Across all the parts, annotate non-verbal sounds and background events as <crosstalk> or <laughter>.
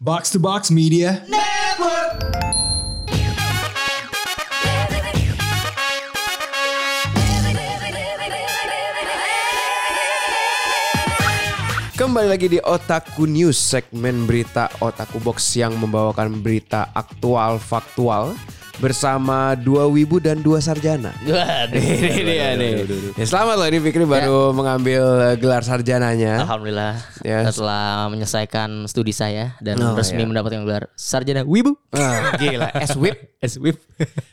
Box to Box Media. Kembali lagi di Otaku News, segmen berita Otaku Box yang membawakan berita aktual faktual bersama dua wibu dan dua sarjana. Waduh. Ini dia nih. Ya, selamat loh ini Fikri Ya. baru mengambil eh, gelar sarjananya. Alhamdulillah Ya. setelah menyelesaikan studi saya dan Oh, ya. resmi mendapatkan gelar sarjana Wibu. Ah, gila, S-Whip. <laughs> S Wib.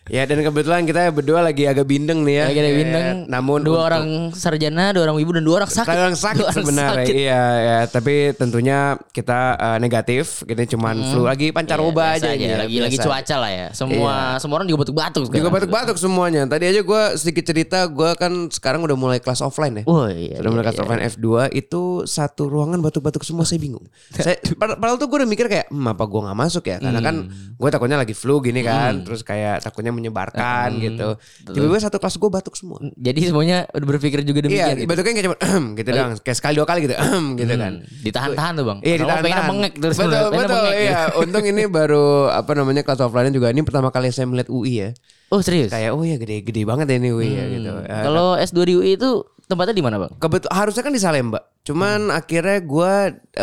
Ya dan kebetulan kita berdua lagi agak bindeng nih ya. Lagi ada Ya, bintang. namun dua untuk- orang sarjana, dua orang Wibu dan dua orang sakit. Kalau yang sakit Dua orang sebenarnya sakit. iya ya, tapi tentunya kita eh, negatif, kita cuman flu lagi pancaroba Hmm. Iya, Biasa aja, ini ya, Lagi lagi biasa. Iya. cuaca lah ya. Semua semua orang juga Juga batuk-batuk sekarang. batuk-batuk semuanya. Tadi aja gue sedikit cerita, gue kan sekarang udah mulai kelas offline ya. Wah, iya. Sudah mulai kelas offline F2 itu satu ruangan batuk-batuk semua saya <laughs> bingung. Saya pad- padahal tuh gue udah mikir kayak, hmm, apa gue nggak masuk ya? Karena kan Hmm. gue takutnya lagi flu gini kan, terus kayak takutnya Hmm. menyebarkan gitu. Tiba-tiba satu kelas gue batuk semua. Jadi semuanya udah berpikir Iya, juga Hmm, demikian gitu. Iya. batuknya kayak cuma gitu doang, kayak sekali dua kali gitu, gitu kan. Ditahan-tahan tuh, Bang. Iya Kalau ditahan pengen Hmm. mengek terus Betul pengen betul mengek gitu. iya Untung ini baru Apa namanya Kelas offline juga Ini pertama kali saya melihat UI ya Oh, serius. Kayak oh ya gede-gede banget ya ini UI ya gitu Eh, Kalau S2 di UI itu tempatnya di mana, Bang? kebetul harusnya kan di Salemba. Cuman akhirnya gue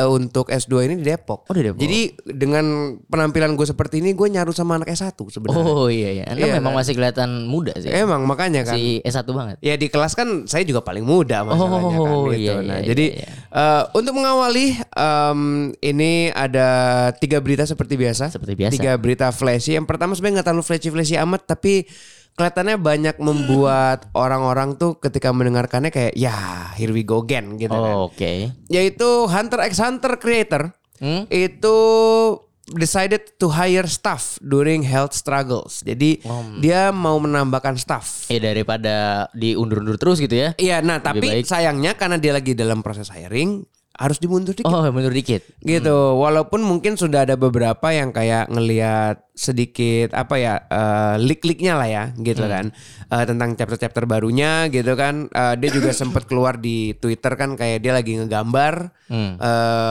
untuk S2 ini di Depok. Hmm. Oh, di Depok. Jadi dengan penampilan gue seperti ini gue nyaru sama anak S1 sebenarnya. Oh iya iya. Anda Iya, memang masih kelihatan muda sih. Emang makanya kan. Si S1 banget. Ya di kelas kan saya juga paling muda masalahnya Oh, kan gitu. iya, nah, iya, jadi iya, iya. eh, untuk mengawali em, ini ada tiga berita seperti biasa. Seperti biasa. Tiga berita flashy. Yang pertama sebenarnya nggak terlalu flashy-flashy amat tapi kelihatannya banyak membuat orang-orang tuh ketika mendengarkannya kayak ya here we go again gitu kan. Oh, Oke. Yaitu Hunter x Hunter creator Hmm? itu decided to hire staff during health struggles. Jadi dia mau menambahkan staff. Eh daripada diundur-undur terus gitu ya. Iya, nah tapi baik. sayangnya karena dia lagi dalam proses hiring harus dimundur dikit. Oh mundur dikit. Gitu, walaupun mungkin sudah ada beberapa yang kayak ngelihat sedikit apa ya eh, leak-leaknya lah ya, gitu kan Eh, tentang chapter-chapter barunya, gitu kan. Eh, dia juga sempat keluar di Twitter kan kayak dia lagi ngegambar eh,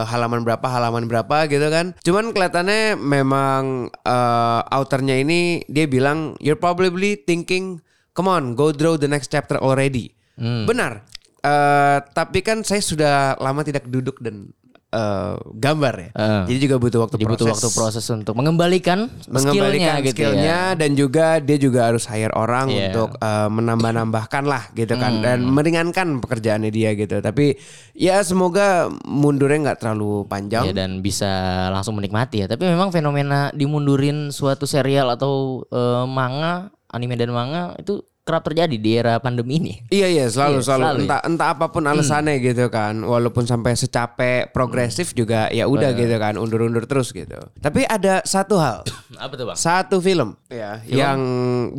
halaman berapa halaman berapa gitu kan. Cuman kelihatannya memang eh, authornya ini dia bilang you're probably thinking, come on, go draw the next chapter already. Benar. Eh, tapi kan saya sudah lama tidak duduk dan eh, gambar ya. Eh. Jadi juga butuh waktu Jadi butuh waktu proses untuk mengembalikan, skillnya mengembalikan skillnya, gitu ya. dan juga dia juga harus hire orang Iya. Hmm. untuk eh, menambah-nambahkan lah gitu kan dan meringankan pekerjaannya dia gitu. Tapi ya semoga mundurnya nggak terlalu Ya, panjang. dan bisa langsung menikmati ya. Tapi memang fenomena dimundurin suatu serial atau eh, manga, anime dan manga itu kerap terjadi di era pandemi ini. Iya iya selalu Iya, selalu, selalu, Hmm. entah entah apapun alasannya gitu kan walaupun sampai secapek progresif juga ya udah gitu kan undur-undur terus gitu. Tapi ada satu hal Apa tuh bang? satu film Iya. ya yang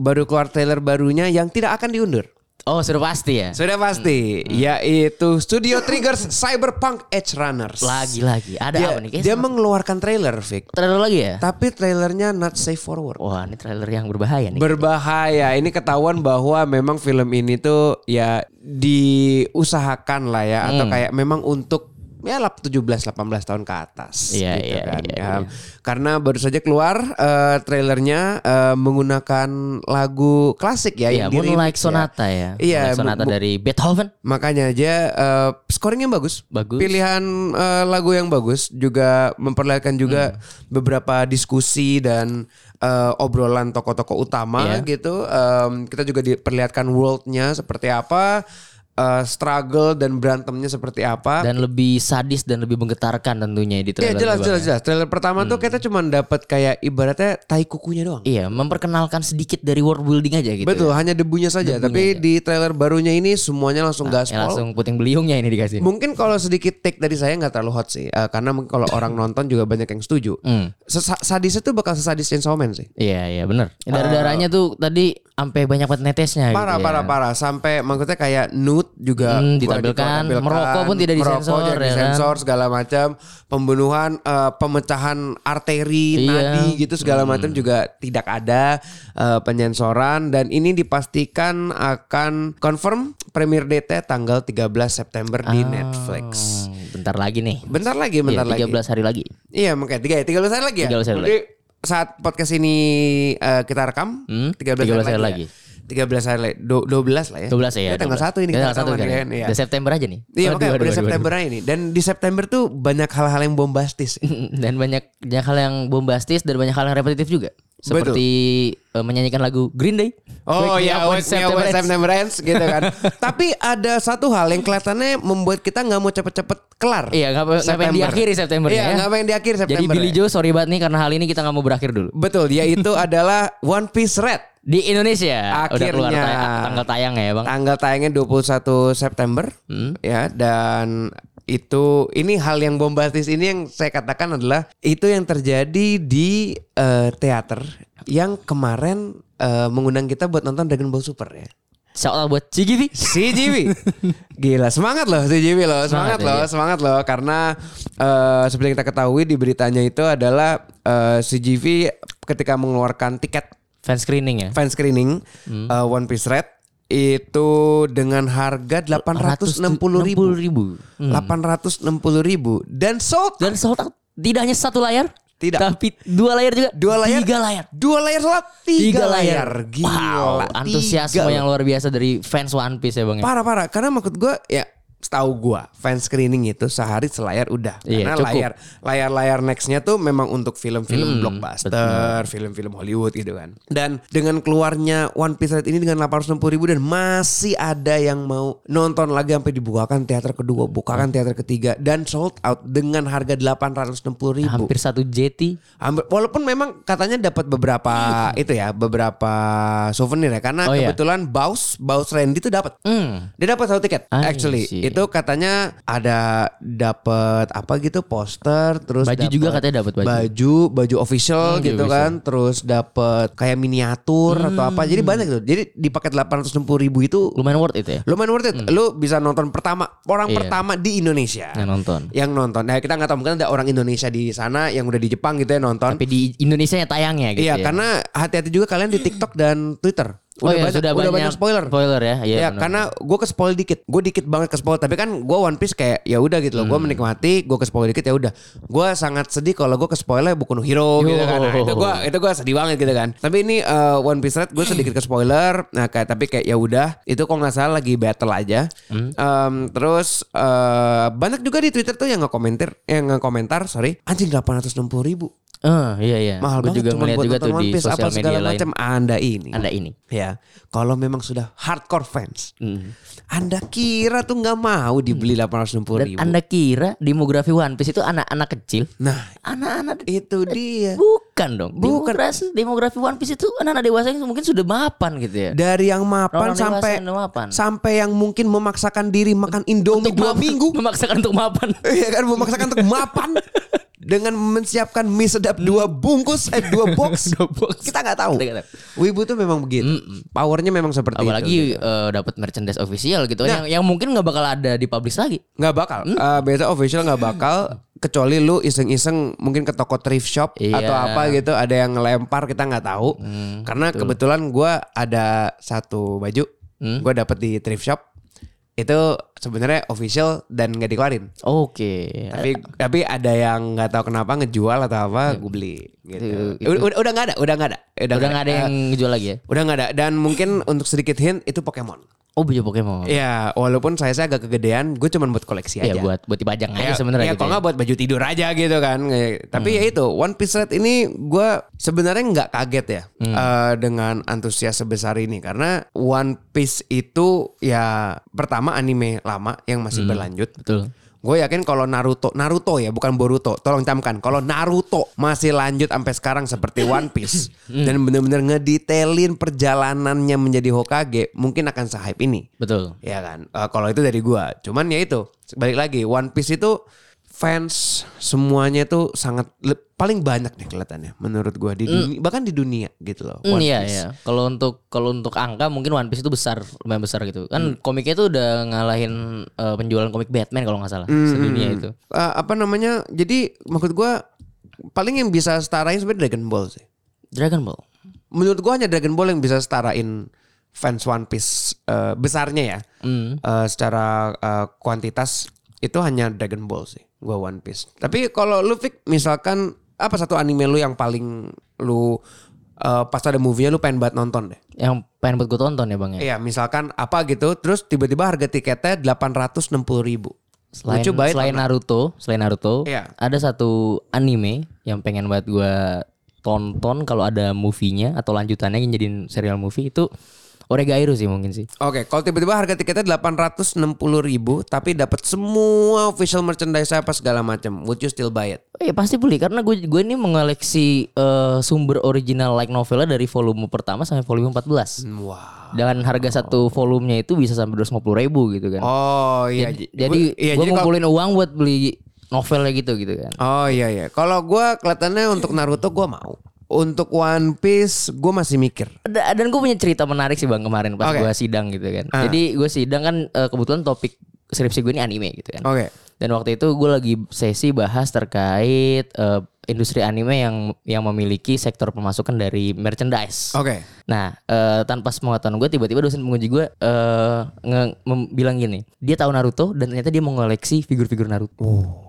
baru keluar trailer barunya yang tidak akan diundur. Oh sudah pasti ya. Sudah pasti yaitu Studio Triggers Cyberpunk Edge Runners. Lagi lagi. Ada Dia, apa nih? Kayaknya dia sama- mengeluarkan trailer, Vic. trailer lagi ya. Tapi trailernya not safe for work. Wah Oh, ini trailer yang berbahaya nih. Berbahaya. Ini ketahuan bahwa memang film ini tuh ya diusahakan lah ya atau Hmm. kayak memang untuk ya lap 17 18 tahun ke atas Iya, gitu iya, kan. iya, ya. Karena baru saja keluar eh, trailernya eh, menggunakan lagu klasik ya Iya, yang di-remix Moonlight ya. Sonata ya. Iya, Moonlight Sonata bu- bu- dari Beethoven. Makanya aja eh, scoringnya bagus. Bagus. Pilihan eh, lagu yang bagus juga memperlihatkan juga Hmm. beberapa diskusi dan eh, obrolan tokoh-tokoh utama Iya. gitu. Em, kita juga diperlihatkan worldnya seperti apa, eh, struggle dan berantemnya seperti apa. dan lebih sadis dan lebih menggetarkan tentunya Ah. Iya di trailer. jelas itu, Bang, jelas ya. jelas. Trailer pertama tuh kita cuma dapat kayak ibaratnya tai kukunya doang. Iya, memperkenalkan sedikit dari world building aja gitu. Betul, hanya debunya saja. Tapi di trailer barunya ini semuanya langsung Ya, gaspol. langsung puting beliungnya ini dikasih. Mungkin kalau sedikit take dari saya nggak terlalu hot sih, Eh, karena mungkin kalau orang nonton juga banyak yang setuju. Hmm. Sesa- Sadisnya tuh bakal sesadis Chainsaw Man sih. Iya, iya benar. Darah-darahnya tuh tadi sampai banyak banget netesnya Ah. Parah, gitu. ya. parah, parah. Sampai maksudnya kayak nude juga Hmm, gua ditampilkan. Merokok pun tidak Merokok disensor, tidak ya kan? disensor, segala macam. Pembunuhan, eh, pemecahan arteri, Iya. nadi gitu segala macam juga tidak ada eh, penyensoran. Dan ini dipastikan akan confirm premier date tanggal 13 September di Netflix. Hmm, bentar lagi nih. Bentar lagi, bentar Ah. lagi. Iya, 13 hari lagi. Iya makanya tiga ya tiga belas hari lagi ya. 13 hari Berarti saat podcast ini eh, kita rekam Hmm, tiga 13 belas hari hari lagi. ya? Tiga belas hari lagi, dua belas lah ya. 12 ya. Ini tanggal 12. satu ini Tanggal kita satu rekaman kan. kan, Iya. Udah September aja nih. Iya Waduh, makanya waduh, udah waduh, September waduh. aja nih dan di September tuh banyak hal-hal yang bombastis. <laughs> dan banyak banyak hal yang bombastis dan banyak hal yang repetitif juga. Seperti eh, menyanyikan lagu Green Day. Oh Wake Me ya, Up wake me up when Ends. September ends gitu <laughs> kan. Tapi ada satu hal yang kelihatannya membuat kita nggak mau cepet-cepet kelar. Iya, nggak apa- nggak pengen September. diakhiri September Iya, ya. nggak pengen diakhiri Jadi September. Billy ya. Joe sorry banget nih karena hal ini kita nggak mau berakhir dulu. Betul, yaitu <laughs> adalah One Piece Red. Di Indonesia udah keluar Akhirnya. tay- tanggal tayang ya, Bang. Hmm. Tanggal tayangnya 21 September. Ya, dan itu ini hal yang bombastis ini yang saya katakan adalah itu yang terjadi di eh, teater yang kemarin eh, mengundang kita buat nonton Dragon Ball Super <laughs> ya. Shout out buat CGV. CGV. Gila, semangat loh CGV loh, semangat, Semangat ya, loh, iya. semangat loh karena eh, seperti yang kita ketahui di beritanya itu adalah eh, CGV ketika mengeluarkan tiket Fan screening ya. fan screening Hmm. eh, One Piece Red itu dengan harga 860 ribu. 860 ribu. Hmm. 860 ribu dan sold out. Dan sold out tidak hanya satu layar, Tidak. tapi dua layar juga. Dua layar. Tiga layar. dua layar sold out, tiga, layar. Gila. Wow, tiga antusiasme yang luar biasa dari fans One Piece ya, Bang. ya. Parah parah karena maksud gue ya setahu gue fan screening itu sehari selayar udah Iya, karena cukup. Hmm, layar layar layar nextnya tuh memang untuk film-film blockbuster, film-film Hollywood gitu kan. Dan dengan keluarnya One Piece Red ini dengan 860 ribu dan masih ada yang mau nonton lagi sampai dibukakan teater kedua, Hmm. bukakan teater ketiga dan sold out dengan harga 860 ribu. Hampir satu JT. Hampir- Walaupun memang katanya dapat beberapa itu ya, beberapa souvenir ya karena Hmm. Oh, iya. kebetulan Baus Baus Randy tuh dapat. Hmm. Dia dapat satu tiket Ah, actually. sih. Itu katanya ada dapat apa gitu poster terus Baju dapet juga katanya dapat baju. Baju baju official Hmm, gitu baju kan, terus dapat kayak miniatur atau apa. Hmm. Jadi banyak tuh. Jadi di paket 860 ribu itu Lumayan worth it ya. lumayan worth it. Lu bisa nonton pertama orang Iya. Nah. pertama di Indonesia. Yang nonton. Yang nonton. Nah, kita nggak tahu mungkin ada orang Indonesia di sana yang udah di Jepang gitu ya nonton. Tapi di Indonesia ya tayangnya gitu Iya, ya. karena hati-hati juga kalian di TikTok dan Twitter. Udah, Oh iya, banyak, sudah udah banyak, banyak spoiler. spoiler ya. Iya, Ya, benar. karena gue ke spoil dikit. Gue dikit banget ke spoil, tapi kan gue One Piece kayak ya udah gitu loh. Gue Hmm. menikmati, gue ke spoil dikit ya udah. Gue sangat sedih kalau gue ke spoiler bukan hero gitu Yo. kan. Nah, itu gue itu gue sedih banget gitu kan. Tapi ini eh, One Piece Red gue sedikit ke spoiler. Nah, kayak tapi kayak ya udah, itu kok nggak salah lagi battle aja. Hmm. Em, terus eh, banyak juga di Twitter tuh yang ngekomentar yang ngekomentar, sorry, anjing 860 ribu. Eh, iya iya. Mahal Gua banget juga cuman ngeliat buat juga nonton tuh di One Piece, apa sosial segala media lain. macam Anda ini. Anda ini. Ya, kalau memang sudah hardcore fans, Anda kira tuh nggak mau dibeli delapan ratus Hmm. Dan ribu. Anda kira demografi One Piece itu anak-anak kecil? Nah, Anak-anak itu dia. bukan dong. Bukan. Demografi, demografi One Piece itu anak-anak dewasa yang mungkin sudah mapan gitu ya. Dari yang mapan Orang-orang dewasa sampai yang mapan. sampai yang mungkin memaksakan diri makan Indomie dua Mapan- <laughs> minggu, memaksakan untuk mapan. <laughs> Iya kan memaksakan untuk mapan dengan menyiapkan mie sedap dua bungkus eh dua box. <laughs> Dua box. Kita nggak tahu. Kita nggak Wibu tuh memang begitu. Powernya memang seperti itu. Apalagi eh, dapat merchandise official gitu Nah. kan, yang yang mungkin nggak bakal ada di publish lagi. nggak bakal Hmm? Eh, biasa official nggak bakal kecuali lu iseng-iseng mungkin ke toko thrift shop Iya. Hmm, atau apa gitu ada yang ngelempar kita nggak tahu karena kebetulan gua ada satu baju Hmm? gua dapet di thrift shop itu sebenarnya official dan nggak dikeluarin Oke. tapi tapi ada yang nggak tahu kenapa ngejual atau apa gue beli gitu Itu- udah udah nggak ada udah nggak ada Iya. Eh, Udah nggak ada yang jual lagi ya? udah nggak ada dan mungkin untuk sedikit hint itu Pokemon Oh, baju Pokemon. ya walaupun saya saya agak kegedean gue cuman buat koleksi aja Iya, buat buat dipajang Ya, aja sebenarnya ya, kalau gitu. ya. Hmm. nggak buat baju tidur aja gitu kan. Kayak- Tapi ya itu One Piece Red ini gue sebenarnya nggak kaget ya Hmm. eh, dengan antusias sebesar ini karena One Piece itu ya pertama anime lama yang masih Hmm. berlanjut. Betul. Gue yakin kalau Naruto, Naruto ya bukan Boruto, tolong camkan. Kalau Naruto masih lanjut sampai sekarang seperti One Piece Hmm. dan bener-bener ngedetailin perjalanannya menjadi Hokage, mungkin akan sehype ini. Betul. Ya kan. Eh, kalau itu dari gua. Cuman ya itu, balik lagi One Piece itu fans semuanya itu sangat le- paling banyak nih kelihatannya menurut gua di dunia, bahkan di dunia gitu loh. Hmm, One Mm. iya Piece. iya. Kalau untuk kalau untuk angka mungkin One Piece itu besar, lumayan besar gitu. Hmm. Kan komiknya itu udah ngalahin eh, penjualan komik Batman kalau nggak salah Hmm, sedunia iya, itu. Eh, apa namanya? Jadi maksud gua paling yang bisa setarain sebenarnya Dragon Ball sih. Dragon Ball. Menurut gua hanya Dragon Ball yang bisa setarain Hmm? fans One Piece eh, besarnya ya. Eh, secara eh, kuantitas itu hanya Dragon Ball sih. Gua One Piece. Tapi kalau lu Fik, misalkan apa satu anime lu yang paling lu eh, pas ada movie-nya lu pengen banget nonton deh. Yang pengen buat gue tonton ya bang ya. Iya, misalkan apa gitu, terus tiba-tiba harga tiketnya 860 ribu. Selain, Lucu banget. selain Naruto, selain Naruto, Iya. ada satu anime yang pengen banget gua tonton kalau ada movie-nya atau lanjutannya yang jadiin serial movie itu Oregairu sih mungkin sih. Oke, kalau tiba-tiba harga tiketnya 860 ribu, tapi dapat semua official merchandise apa segala macam, would you still buy it? Eh pasti beli karena gue gue ini mengoleksi eh, sumber original like novelnya dari volume pertama sampai volume 14. Hmm. Wow. Dengan harga satu volumenya itu bisa sampai 250 ribu gitu kan. Oh iya. Ji. jadi Bu- iya, gue jadi kalau- ngumpulin uang buat beli novelnya gitu gitu kan. Oh iya iya. Kalau gua kelihatannya untuk Naruto gua mau. Untuk One Piece gua masih mikir. Da- dan gue punya cerita menarik sih bang kemarin pas Oke. Ah. gua sidang gitu kan. Jadi gue sidang kan eh, kebetulan topik skripsi gue ini anime gitu kan. Oke. Dan waktu itu gue lagi sesi bahas terkait eh, industri anime yang yang memiliki sektor pemasukan dari merchandise. Oke. Nah, eh, tanpa sepengetahuan gue tiba-tiba dosen penguji gue eh, nge- mem- bilang gini, dia tahu Naruto dan ternyata dia mengoleksi figur-figur Naruto. <laughs>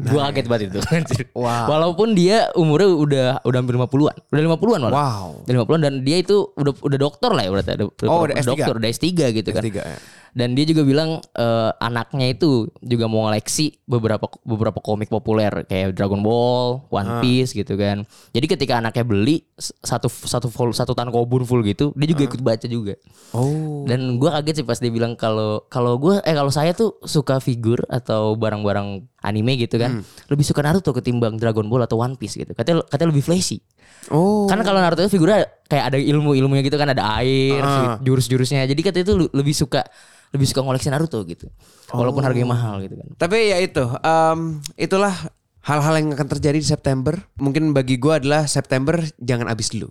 gue kaget banget itu. Anjir. Oh, Wow. Walaupun dia umurnya udah udah hampir 50-an. Udah 50-an malah. Wow. Udah 50-an dan dia itu udah udah dokter lah ya berarti ada Oh, udah S3. dokter, udah S3 gitu kan. S3, ya. Dan dia juga bilang eh, anaknya itu juga mau ngoleksi beberapa beberapa komik populer kayak Dragon Ball, One Piece gitu kan. Jadi ketika anaknya beli s- satu satu full satu tan kobun full gitu, dia juga ikut baca juga. Oh. Dan gua kaget sih pas dia bilang kalau kalau gua eh kalau saya tuh suka figur atau barang-barang anime gitu kan, lebih suka Naruto ketimbang Dragon Ball atau One Piece gitu. Katanya katanya lebih flashy. Oh. Karena Kan kalau Naruto itu figurnya kayak ada ilmu-ilmunya gitu kan ada air, Ah. jurus-jurusnya. Jadi katanya itu lu- lebih suka lebih suka ngoleksi Naruto gitu. Walaupun harganya mahal gitu kan. Tapi ya itu, em, itulah hal-hal yang akan terjadi di September. Mungkin bagi gua adalah September jangan habis dulu.